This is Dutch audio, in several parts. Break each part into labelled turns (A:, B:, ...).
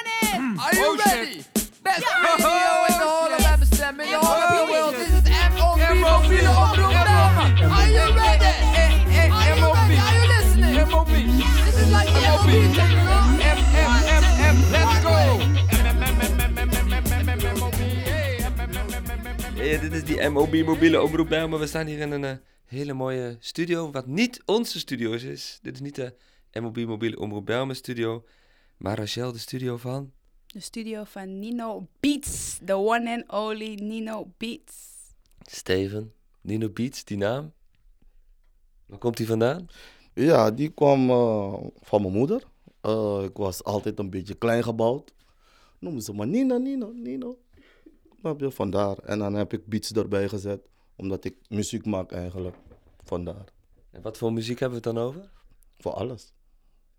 A: Are you
B: Oh, shit.
A: ready? Best
B: Ja.
A: radio in de
B: Oh,
A: hele
B: shit.
A: bestemming, in de hele
B: Emoties.
A: wereld. Dit is M.O.B.
B: Emoties.
A: mobiele omroep België. Are you ready? Are you
B: M.O.B.
A: ready? Are you listening?
B: MOP.
A: This is like the M.O.B. jingle.
B: M, let's go.
C: Hey, dit is die MOB mobiele omroep bij, maar we staan hier in een eh, hele mooie studio, wat niet onze studio is. Dit is niet de MOB mobiele omroep Bijlmer studio, maar Rachel de studio van.
D: De studio van Nino Beats. The one and only Nino Beats.
C: Steven, Nino Beats, die naam. Waar komt die vandaan?
E: Ja, die kwam eh, van mijn moeder. Eh, ik was altijd een beetje klein gebouwd. Noemden ze me Nino, Nino, Nino. Snap je? Vandaar. En dan heb ik beats erbij gezet, omdat ik muziek maak eigenlijk. Vandaar.
C: En wat voor muziek hebben we het dan over?
E: Voor alles.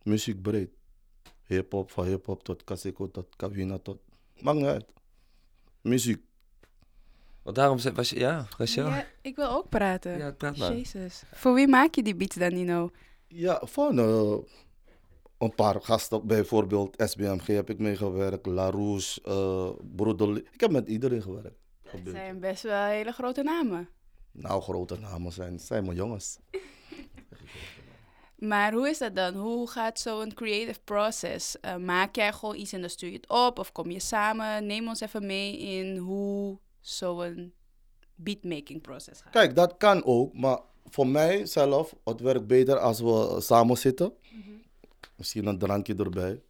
E: Muziek breed. Hip-hop, van hip-hop tot kaseko, tot kawina, tot. Maakt niet uit. Muziek.
C: Want daarom ze- was je. Ja, Rachel.
D: Ja, ik wil ook praten.
C: Ja, praat maar.
D: Jezus. Voor wie maak je die beats dan, Nino?
E: Ja, van eh, een paar gasten, bijvoorbeeld SBMG heb ik meegewerkt, Larousse, eh Broederli. Ik heb met iedereen gewerkt.
D: Het zijn best wel hele grote namen.
E: Nou, grote namen zijn, zijn mijn jongens.
D: Maar hoe is dat dan? Hoe gaat zo'n creative process? Eh, maak jij gewoon iets en dan stuur je het op? Of kom je samen? Neem ons even mee in hoe zo'n beatmaking process gaat.
E: Kijk, dat kan ook, maar voor mij zelf, het werkt beter als we samen zitten. Misschien een drankje erbij,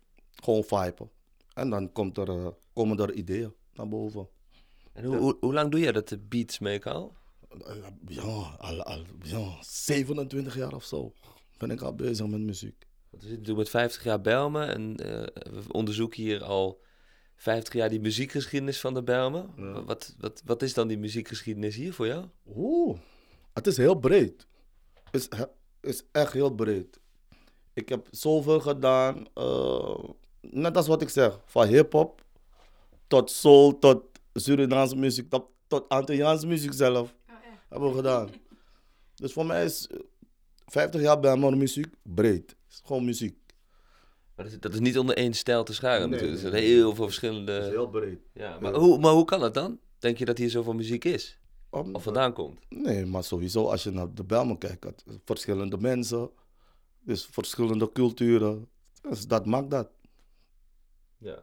E: gewoon viben. En dan komt er, eh, komen er ideeën naar boven.
C: En hoe, hoe, hoe lang doe jij dat de beats mee al?
E: Eh, Ja, al, al, ja, 27 jaar of zo ben ik al bezig met muziek.
C: Want we zitten natuurlijk met 50 jaar Bijlmer en eh, we onderzoeken hier al 50 jaar die muziekgeschiedenis van de Bijlmer.
E: Ja.
C: Wat, wat, wat is dan die muziekgeschiedenis hier voor jou?
E: Oeh, het is heel breed. Het is, he- is echt heel breed. Ik heb zoveel gedaan, eh, net als wat ik zeg, van hip-hop tot soul, tot Surinaamse muziek, tot, tot Antilliaanse muziek zelf. Hebben we gedaan. Dus voor mij is eh, 50 jaar bij mijn muziek breed. Het is gewoon muziek.
C: Maar dat, is, dat is niet onder één stijl te scharen
E: Nee,
C: natuurlijk. Er
E: nee,
C: zijn
E: nee.
C: heel veel verschillende...
E: breed.
C: Ja, maar, hoe, maar hoe kan dat dan? Denk je dat hier zoveel muziek is?
E: Om-
C: Of vandaan komt?
E: Nee, maar sowieso als je naar de Bijlmer kijkt, het- verschillende mensen, dus verschillende culturen. Dus dat maakt dat.
C: Ja.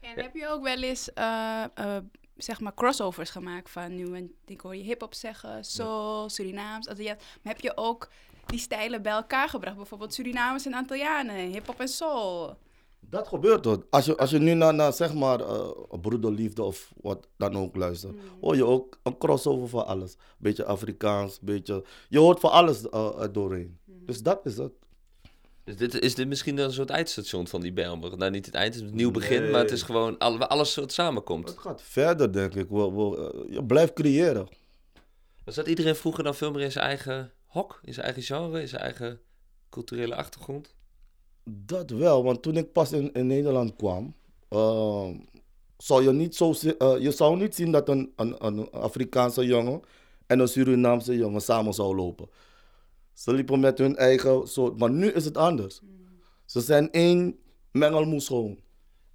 D: En heb je ook wel eens, eh, eh, zeg maar, crossovers gemaakt van nu? En ik hoor je hip-hop zeggen, soul, Surinaams, Antilliaans. Maar heb je ook die stijlen bij elkaar gebracht? Bijvoorbeeld Surinamers en Antillianen, hip-hop en soul.
E: Dat gebeurt hoor. Als je, als je nu naar, naar zeg maar eh, broederliefde of wat dan ook luistert, hoor je ook een crossover van alles. Beetje Afrikaans, beetje. Je hoort van alles eh, er doorheen. Dus dat is het.
C: Dus dit, is dit misschien dan een soort eindstation van die Bijlmer? Nou, niet het eind, het is een nieuw begin, maar het is gewoon al, waar alles soort samenkomt.
E: Het gaat verder, denk ik. We, we, eh, je blijft creëren.
C: Was dat iedereen vroeger dan veel meer in zijn eigen hok? In zijn eigen genre? In zijn eigen culturele achtergrond?
E: Dat wel, want toen ik pas in, in Nederland kwam, ehm, zou je niet zo zi- eh, je zou niet zien dat een, een, een Afrikaanse jongen en een Surinaamse jongen samen zou lopen. Ze liepen met hun eigen soort, maar nu is het anders. Ze zijn één mengelmoes gewoon.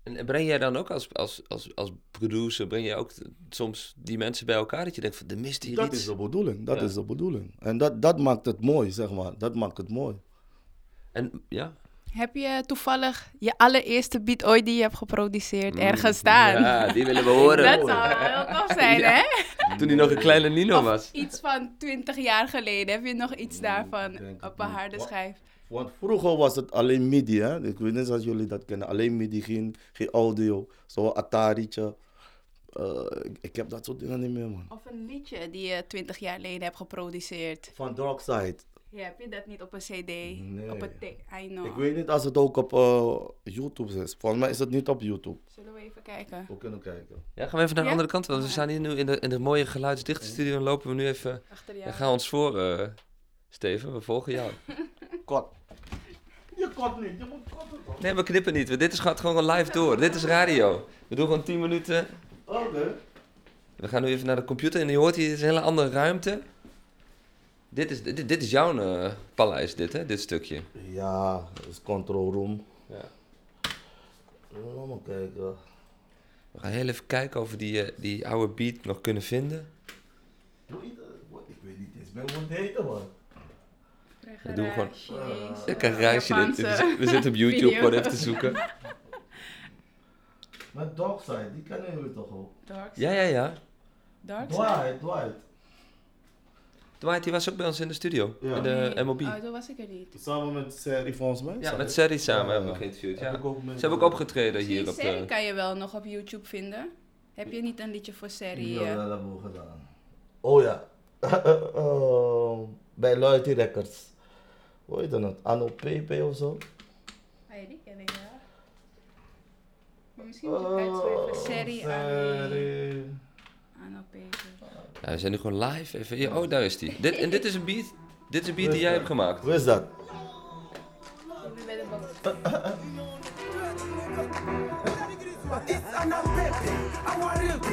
C: En en breng jij dan ook als, als, als, als producer, breng jij ook t- soms die mensen bij elkaar? Dat je denkt van, er mist hier
E: Dat
C: iets.
E: is de bedoeling, dat
C: Ja.
E: is de bedoeling. En dat, dat maakt het mooi, zeg maar. Dat maakt het mooi.
C: En ja,
D: Heb je toevallig je allereerste beat ooit die je hebt geproduceerd
E: Mm,
D: ergens staan?
C: ja, die willen we horen.
D: Dat zou wel heel tof zijn,
C: Ja.
D: hè?
C: Toen hij nog een kleine Nino was.
D: Of iets van 20 jaar geleden. Heb je nog iets daarvan
E: ik Mm, denk het
D: op een
E: niet.
D: harde
E: Wat?
D: schijf?
E: Want vroeger was het alleen MIDI, hè? Ik weet niet of jullie dat kennen. Alleen MIDI, geen, geen audio. Zo'n Atari'tje. Eh, ik, ik heb dat soort dingen niet meer, man.
D: Of een liedje die je 20 jaar geleden hebt geproduceerd.
E: Van Darkside.
D: Ja, heb je dat niet op een cd? Op een tape? I know.
E: Ik weet niet als het ook op eh, YouTube is. Volgens mij is het niet op YouTube.
D: Zullen we even kijken?
E: We kunnen kijken.
C: Ja, gaan we even naar de
D: Ja?
C: andere kant, want we staan hier nu in de, in de mooie geluidsdichte studio en lopen we nu even...
D: Achter
C: Ja,
D: jou.
C: ga ons voor, eh, Steven, we volgen jou.
E: Kot. Je kot niet, je moet kotten toch?
C: Nee, we knippen niet, want dit is, gaat gewoon live door. Dit is radio. We doen gewoon 10 minuten.
E: Oké.
C: We gaan nu even naar de computer en je hoort hier, dit is een hele andere ruimte. Dit is, dit, dit is jouw eh, paleis, dit, hè? dit stukje.
E: Ja, dat is control room.
C: Ja.
E: Laat me kijken.
C: We gaan heel even kijken of we die, eh, die oude beat nog kunnen vinden.
E: eh, Ik weet niet eens meer hoe het heette, man.
C: Dat doen we gewoon.
D: Chinees,
C: Ik krijg
D: eh,
C: een reisje. dit-
D: Japanse.
C: dit- We zitten op YouTube
D: video.
C: gewoon even te zoeken.
E: Met Darkside, die kennen jullie toch ook?
D: Dark,
C: Ja, ja, ja.
D: dark side.
E: Dwight, Dwight.
C: Dwight, die was ook bij ons in de studio.
E: Ja.
C: In de
D: Nee,
C: MLB.
D: Oh, dat was ik er niet.
E: Samen met Seri volgens mij.
C: Ja, met Serry samen
E: Ja,
C: hebben we
E: ja.
C: geïnterviewd.
E: Heb
C: Ja.
E: ik ook mee-
C: Ze hebben ook opgetreden hier
D: Die
C: op eh,
D: serie
C: de...
D: kan je wel nog op YouTube vinden. Heb je niet een liedje voor serie?
E: Ja,
D: eh?
E: dat hebben we gedaan. Oh ja. Eh, bij Loyalty Records. Hoe heet dat? nou? Anno PP of zo?
D: Ah, ja, die ken ik wel. Maar misschien moet je
E: Oh,
D: uitzoeken voor
C: Oh,
D: serie aan,
E: Seri.
D: aan op Peter.
C: Ja, we zijn nu gewoon live. Even... ja, oh, daar is die. Dit, en dit is een beat. Dit is een beat die jij hebt gemaakt.
E: Hoe is dat?
D: Ik ben bij de box.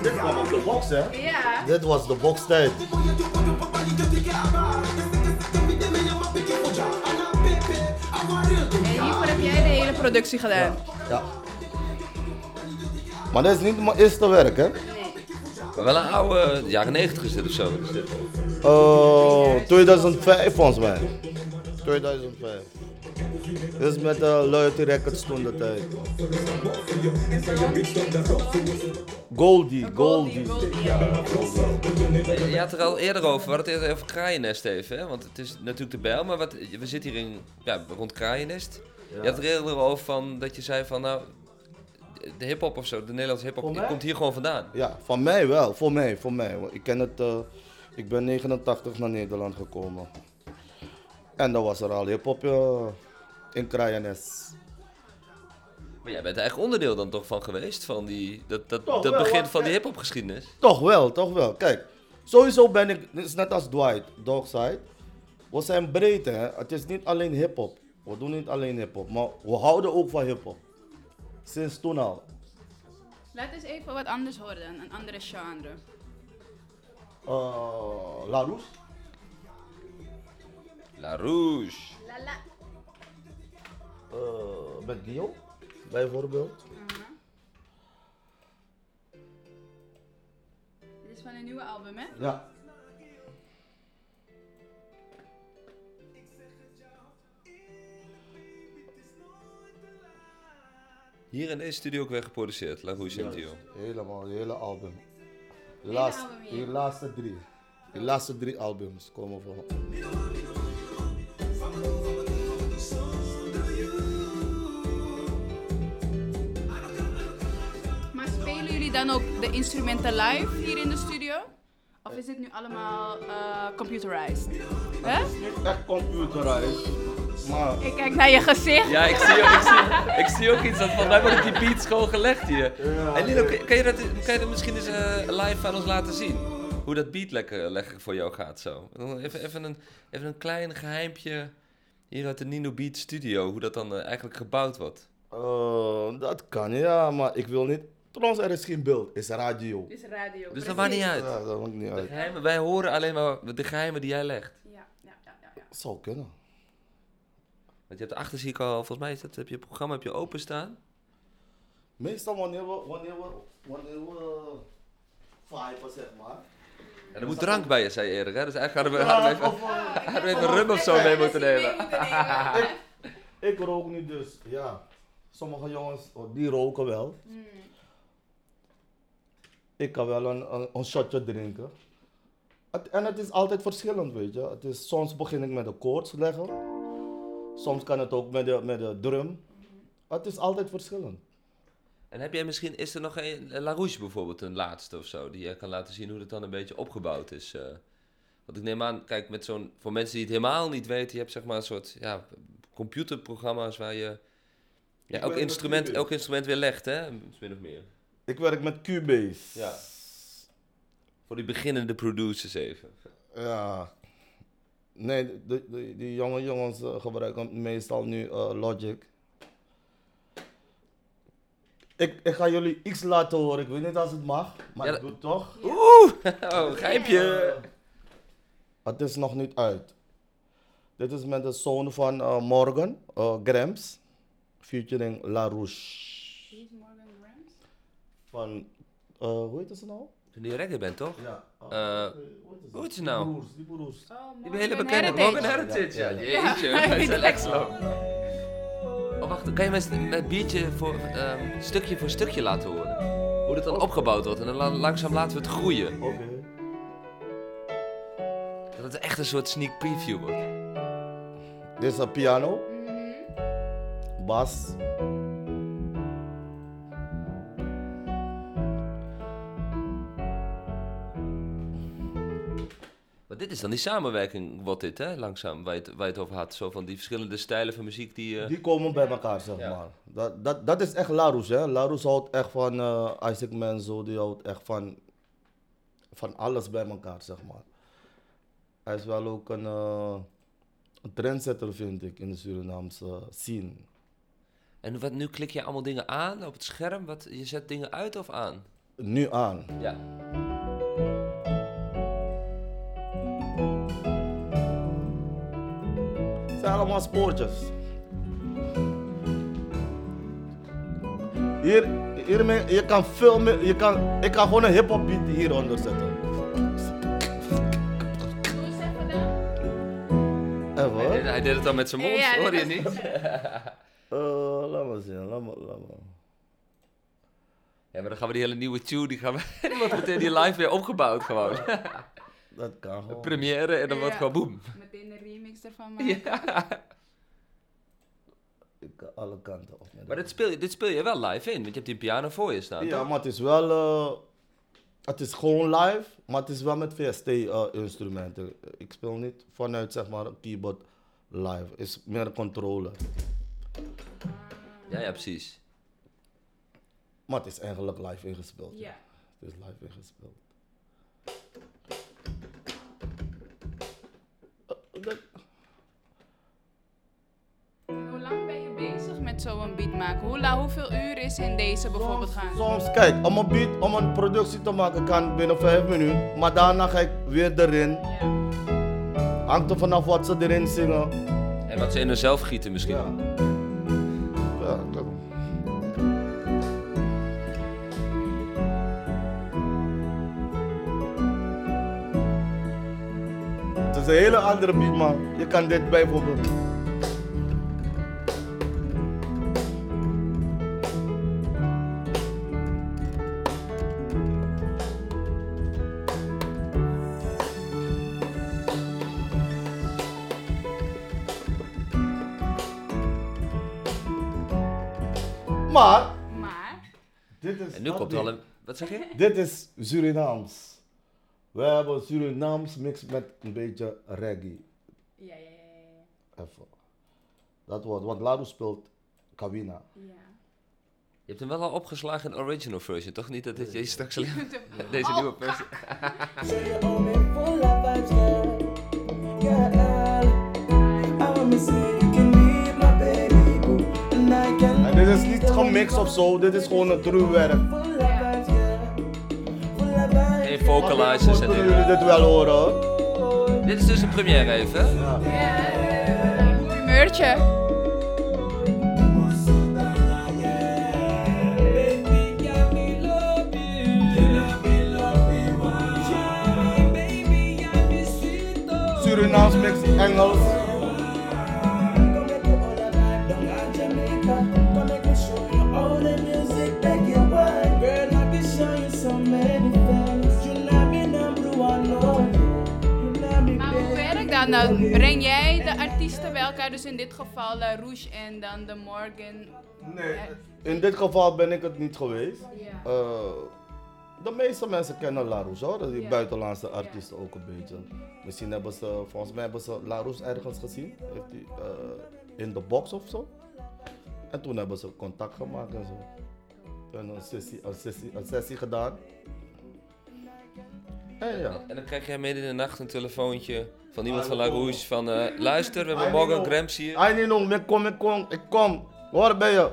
E: Dit kwam op de box, hè?
D: Ja.
E: Dit was de box tijd.
D: En hiervoor heb jij de hele productie gedaan.
E: Ja. Maar dit is niet mijn eerste werk, hè?
D: Nee.
C: Maar wel een oude... Jaren 90 is dit of zo. Is dit.
E: Oh, 2005 volgens mij. 2005. Dus met de Loyalty Records toen de tijd. Goldie, Goldie.
D: Goldie, ja.
C: Je je had er al eerder over, we hadden het eerder over kraaiennest even, hè? want het is natuurlijk de bijl, maar wat, we zitten hier in, ja, rond kraaiennest. Je had er eerder over van, dat je zei van, nou, de- de hip-hop of zo, de Nederlandse
E: Voor
C: hip-hop, die
E: mij?
C: komt hier gewoon vandaan.
E: Ja, van mij wel, voor mij, voor mij. Want Ik ken het, eh, ik ben 89 naar Nederland gekomen. En dan was er al hip-hop eh, in Kraaiennes.
C: Maar jij bent er echt onderdeel dan toch van geweest, van die, dat, dat,
E: Toch
C: dat
E: wel,
C: begin
E: want-
C: van die hip-hop geschiedenis.
E: Toch wel, toch wel. Kijk, sowieso ben ik, het is net als Dwight, Dogside. We zijn breed, hè. Het is niet alleen hip-hop. We doen niet alleen hip-hop, maar we houden ook van hip-hop. Sinds toen al.
D: Laat eens even wat anders horen dan, een andere genre.
E: Eh La Rousse?
C: La Rouge.
D: Lala.
E: Eh, met Dio, bijvoorbeeld.
D: Dit is van een nieuwe album, hè?
E: Ja.
C: Hier in deze studio ook weer geproduceerd, La Rouge en Dio.
E: Helemaal, het hele album. De laatste,
D: album, ja.
E: die laatste drie. De laatste drie albums komen van.
D: Maar spelen jullie dan ook de instrumenten live hier in de studio? Of is dit nu allemaal eh, computerized? Hè?
E: Niet echt computerized, maar
D: Ik kijk naar je gezicht.
C: Ja, ik zie, ik, zie, ik zie ook iets dat van mij worden die beats gewoon gelegd hier. en Lilo, kun- kan je, dat, kan je dat misschien eens eh, live aan ons laten zien? Hoe dat beat lekker, lekker voor jou gaat zo. Dan Even, even, een, even een klein geheimpje hier uit de Nino Beat Studio, hoe dat dan eh, eigenlijk gebouwd wordt.
E: Eh, dat kan, ja, maar ik wil niet. Trouwens, er is geen beeld, is radio.
D: Dit is radio.
C: Dus dat maakt niet uit.
E: Ja, dat maakt niet
C: De
E: uit.
C: geheimen, wij horen alleen maar de geheimen die jij legt.
D: Ja, ja, ja, ja, ja.
E: Zou kunnen.
C: Want je hebt achter zie ik al, volgens mij is dat, heb je programma heb je openstaan.
E: Meestal wanneer we, wanneer we, wanneer we viben, zeg maar.
C: En er moet drank bij je, zei je eerder. Hè? Dus eigenlijk hadden we,
E: Ja,
C: hadden we even,
E: of, eh,
C: hadden we even rum of zo mee moeten nemen.
E: ik rook nu dus, ja. Sommige jongens, oh, die roken wel. Ik kan wel een, een, een shotje drinken. Het- en het is altijd verschillend, weet je. Het is, soms begin ik met een koorts leggen. Soms kan het ook met de, met de drum. Het is altijd verschillend.
C: En heb jij misschien, is er nog een, La Rouge bijvoorbeeld, een laatste of zo, die je kan laten zien hoe dat dan een beetje opgebouwd is? eh? want ik neem aan, kijk, met zo'n, voor mensen die het helemaal niet weten, je hebt zeg maar een soort ja, computerprogramma's waar je ja, elk,
E: werk met
C: instrument,
E: Cubase.
C: elk instrument weer legt, hè? Min of meer.
E: Ik werk met Cubase.
C: Ja. Voor die beginnende producers even.
E: Ja. Nee, de, de- die jonge jongens eh, gebruiken meestal nu eh, Logic. Ik, ik ga jullie iets laten horen. Ik weet niet als het mag, maar
C: Ja, dat-
E: ik doe het toch.
C: Oh, grijpje!
E: Het is nog niet uit. Dit is met de zoon van eh, Morgan, eh Grams, featuring La Rouche.
D: Morgan Rams?
E: van, eh, hoe heet ze nou?
C: Toen die reggae bent, toch?
E: Ja. Oh,
C: Eh, hoe heet ze nou?
E: Broers, die broers.
C: Die hele bekende Morgan Heritage. Ja, jeetje, hij is een extra. Oh, wacht, kan je me een- een biertje voor, ehm, stukje voor stukje laten horen? Hoe dat dan opgebouwd wordt en dan la- langzaam laten we het groeien.
E: Oké.
C: Dat het echt een soort sneak preview wordt.
E: Dit is een piano, bas.
C: Maar dit is dan die samenwerking, wordt dit, hè? Langzaam, waar je het, waar je het over had. Zo van die verschillende stijlen van muziek die... eh,
E: Die komen bij elkaar, zeg
C: Ja.
E: maar. Dat, dat, dat is echt Larus, hè. Larus houdt echt van eh Isaac Menzo, die houdt echt van, van alles bij elkaar, zeg maar. Hij is wel ook een, eh, een trendsetter, vind ik, in de Surinaamse scene.
C: En wat, nu klik je allemaal dingen aan op het scherm? Wat, je zet dingen uit of aan?
E: Nu aan.
C: Ja.
E: Het zijn allemaal spoortjes. Hier, hiermee, je kan veel meer, je kan, ik kan gewoon een hip-hop beat hieronder zetten. En Eh, wat?
C: Hij deed, hij deed het dan met zijn mond,
D: Ja, dat
C: hoor je
D: was-
C: niet?
E: Eh, laat maar zien, laat maar, laat maar.
C: Ja, maar dan gaan we die hele nieuwe tune, die gaan we... Die wordt meteen die live weer opgebouwd gewoon.
E: Dat kan gewoon.
C: Première en dan wordt
D: Ja.
C: gewoon boem.
D: Meteen een remix ervan maken.
C: Ja.
E: Ik kan alle kanten op. met
C: Maar
E: dat.
C: dit speel, je- dit speel je wel live in, want je hebt die piano voor je staan.
E: Ja,
C: toch?
E: maar het is wel, eh, het is gewoon live, maar het is wel met VST-instrumenten. eh, ik speel niet vanuit, zeg maar, een keyboard live. is meer controle.
C: ja, ja, precies.
E: Maar het is eigenlijk live ingespeeld.
D: Ja.
E: Het is live ingespeeld. Eh, dat-
D: En Hoe lang ben je bezig met zo'n beat maken? Hoe la- hoeveel uur is in deze bijvoorbeeld gaan?
E: Soms, kijk, om een beat, om een productie te maken kan binnen 5 minuten. Maar daarna ga ik weer erin.
D: Ja.
E: Hangt er vanaf wat ze erin zingen.
C: En wat ze in hunzelf gieten misschien.
E: Ja. Ja, dat- Het is een hele andere beat, man. Je kan dit bijvoorbeeld. Maar.
D: Maar,
E: Dit is
C: En nu komt er al
E: alle.
C: een... Wat zeg je?
E: Dit is Surinaams. We hebben Surinaams mix met een beetje reggae.
D: ja, ja, ja.
E: Even. Dat wordt, want Laru speelt Kawina.
D: ja.
C: Je hebt hem wel al opgeslagen in de original version, toch? Niet dat dit je straks alleen deze
D: Oh,
C: nieuwe versie...
E: En dit is niet gemixt of zo, dit is gewoon een true werk.
C: Geen
E: Maar
C: vocalizers en
E: Kunnen
C: dingen.
E: jullie dit wel horen? hoor.
C: Dit is dus een première even. hè?
D: Muurtje.
E: Surinaams mix Engels.
D: Maar hoe werkt dat dan? Breng jij de artiesten bij elkaar, dus in dit geval La Rouge en dan de Morgan?
E: Nee. In dit geval ben ik het niet geweest.
D: Ja.
E: Eh, de meeste mensen kennen Larus hoor, die
D: Ja.
E: buitenlandse artiesten ook een beetje. Misschien hebben ze, volgens mij hebben ze Larus ergens gezien, heeft die, eh, in de box of zo. En toen hebben ze contact gemaakt en zo. En een sessie, een sessie, een sessie gedaan. En ja.
C: En dan krijg jij midden in de nacht een telefoontje van iemand van La Rouge van... eh, luister, we hebben Morgan Grams hier.
E: Ai, Nino, ik kom, ik kom, ik kom. Hoor, ben je?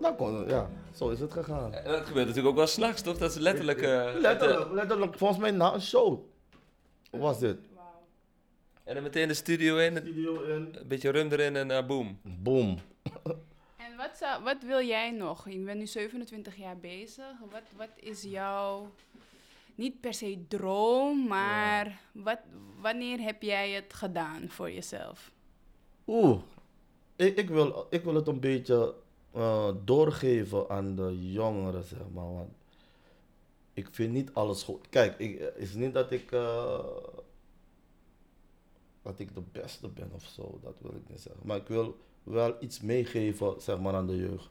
E: Nou, kon, ja, zo is het gegaan.
C: En dat gebeurt natuurlijk ook wel s'nachts, toch? Dat is letterlijk... eh,
E: Letterlijk, letterlijk, volgens mij na een show was dit.
C: En dan meteen de studio in,
E: Video in.
C: een beetje rum erin en eh, boom.
E: Boom.
D: En wat Wat, zou, wat wil jij nog? Je bent nu 27 jaar bezig. Wat, wat is jouw, niet per se droom, maar wat, wanneer heb jij het gedaan voor jezelf?
E: Oeh, ik, ik, wil, ik wil het een beetje eh, doorgeven aan de jongeren, zeg maar. Want ik vind niet alles goed. Kijk, ik, eh, het is niet dat ik, eh, dat ik de beste ben of zo, dat wil ik niet zeggen. Maar ik wil wel iets meegeven, zeg maar, aan de jeugd.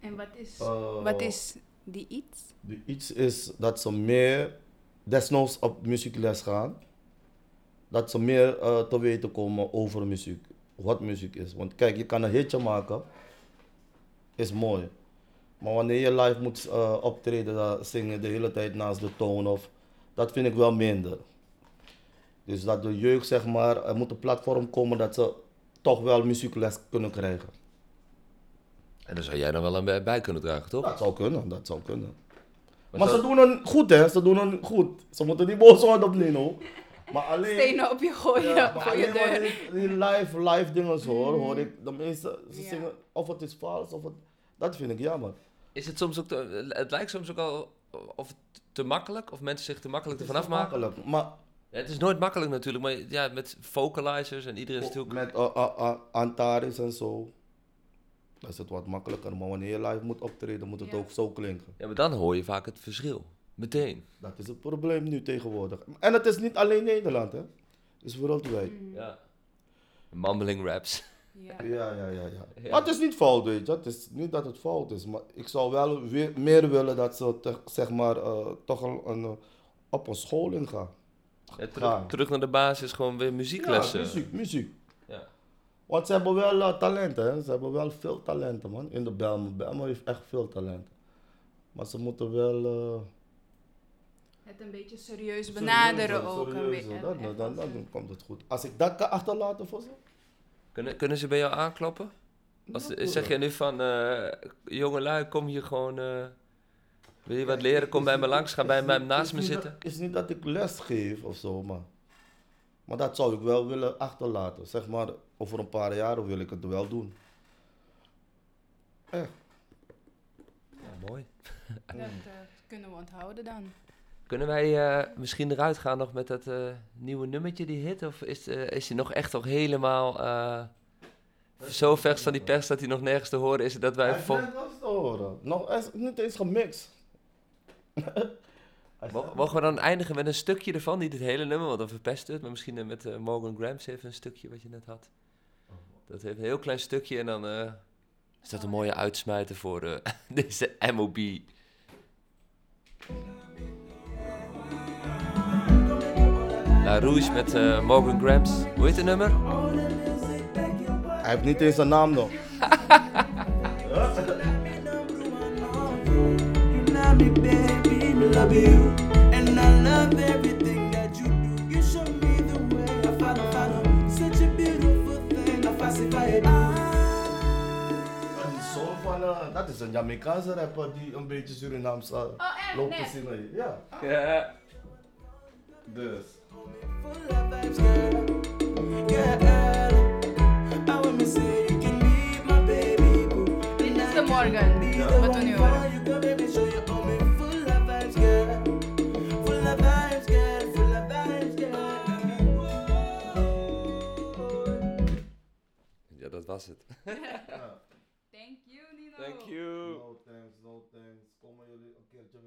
D: En wat is,
E: Eh,
D: wat is die iets?
E: Die Iets is dat ze meer, desnoods op muziekles gaan, dat ze meer eh, te weten komen over muziek, wat muziek is. Want kijk, je kan een hitje maken, is mooi. Maar wanneer je live moet eh, optreden, dan zingen de hele tijd naast de toon of, dat vind ik wel minder. Dus dat de jeugd, zeg maar, er moet een platform komen dat ze toch wel muziekles kunnen krijgen.
C: En daar zou jij dan wel aan bij- bij kunnen dragen, toch?
E: Dat zou kunnen, dat zou kunnen. Maar,
C: zou-
E: ze doen het goed, hè? Ze doen het goed. Ze moeten niet boos worden op Nino. Maar alleen.
D: Stenen op je gooien
E: Ja, maar
D: voor je
E: alleen
D: deur.
E: wanneer ik die live, live dingen hoor, hoor ik de meeste ze
D: Ja.
E: zingen of het is vals of het. Dat vind ik jammer.
C: Is het soms ook, te- het lijkt soms ook al of het te makkelijk, of mensen zich te makkelijk ervan afmaken.
E: Makkelijk. Maar
C: Het is nooit makkelijk natuurlijk, maar ja, met vocalizers en iedereen is natuurlijk...
E: met eh, eh, eh, Antares en zo. Dan is het wat makkelijker. Maar wanneer je live moet optreden, moet het
D: Ja.
E: ook zo klinken.
C: Ja, maar dan hoor je vaak het verschil. Meteen.
E: Dat is het probleem nu tegenwoordig. En het is niet alleen Nederland, hè? Het is wereldwijd.
C: Ja. Mumbling raps.
D: Ja.
E: Ja, ja, ja. ja.
C: Ja.
E: Maar het is niet fout, weet je. Het is niet dat het fout is. Maar ik zou wel weer, meer willen dat ze te- zeg maar, eh, toch een, een, eh, op een school ingaan.
C: Ja, terug,
E: Ja.
C: terug naar de basis, gewoon weer muzieklessen.
E: Ja, muziek, muziek.
C: Ja.
E: Want ze hebben wel eh, talenten, hè. Ze hebben wel veel talenten, man. In de Belmen. Belmen heeft echt veel talenten. Maar ze moeten wel... eh,
D: Het een beetje serieus benaderen
E: serieuzer,
D: ook. een eh,
E: serieuzer.
D: beetje.
E: Dan, dan, dan, dan komt het goed. Als ik dat kan achterlaten voor ze...
C: Kunnen, kunnen ze bij jou aankloppen? Als, zeg je nu van, eh jongelui, kom hier gewoon... eh, wil je wat leren? Kom bij me langs, ga bij mij naast me zitten.
E: Het is niet dat ik les geef of zo, maar... Maar dat zou ik wel willen achterlaten. Zeg maar, over een paar jaren wil ik het wel doen. Echt.
C: Ja, mooi.
D: Dat eh, kunnen we onthouden dan.
C: Kunnen wij eh, misschien eruit gaan nog met dat eh, nieuwe nummertje die hit? Of is, eh, is hij nog echt nog helemaal eh, zo vers van die pers dat hij nog nergens te horen is? Dat wij
E: Hij
C: vol-
E: net als te horen. Nog hij is niet eens gemixt. Hij is-
C: Mo- Mogen we dan eindigen met een stukje ervan? Niet het hele nummer, want dan verpest het. Maar misschien eh, met eh, Morgan Grams even een stukje wat je net had. Dat heeft een heel klein stukje en dan eh, is dat een mooie uitsmijter voor eh, deze MOB. La Rouge met eh, Morgan Grams. Hoe heet het nummer?
E: Hij heeft niet eens een naam nog.
A: You love me, baby, love you. And I love everything that you do. You show me the way I follow, follow. Such a beautiful thing, I falsify it.
E: Die zoon van... eh, dat is een Jamaicaanse rapper die een beetje Surinaams eh,
D: Oh, echt?
E: loopt
D: Nee.
E: te zingen. Ja.
C: Ja.
E: Dus.
A: Full of vibes, girl. Girl, I wanna say you can be my baby, boo.
D: Dit is de morgen, wat we nu horen.
C: ja, dat was het.
D: Thank you, Nino.
C: you.
E: No thanks, no thanks. Komen jullie een keertje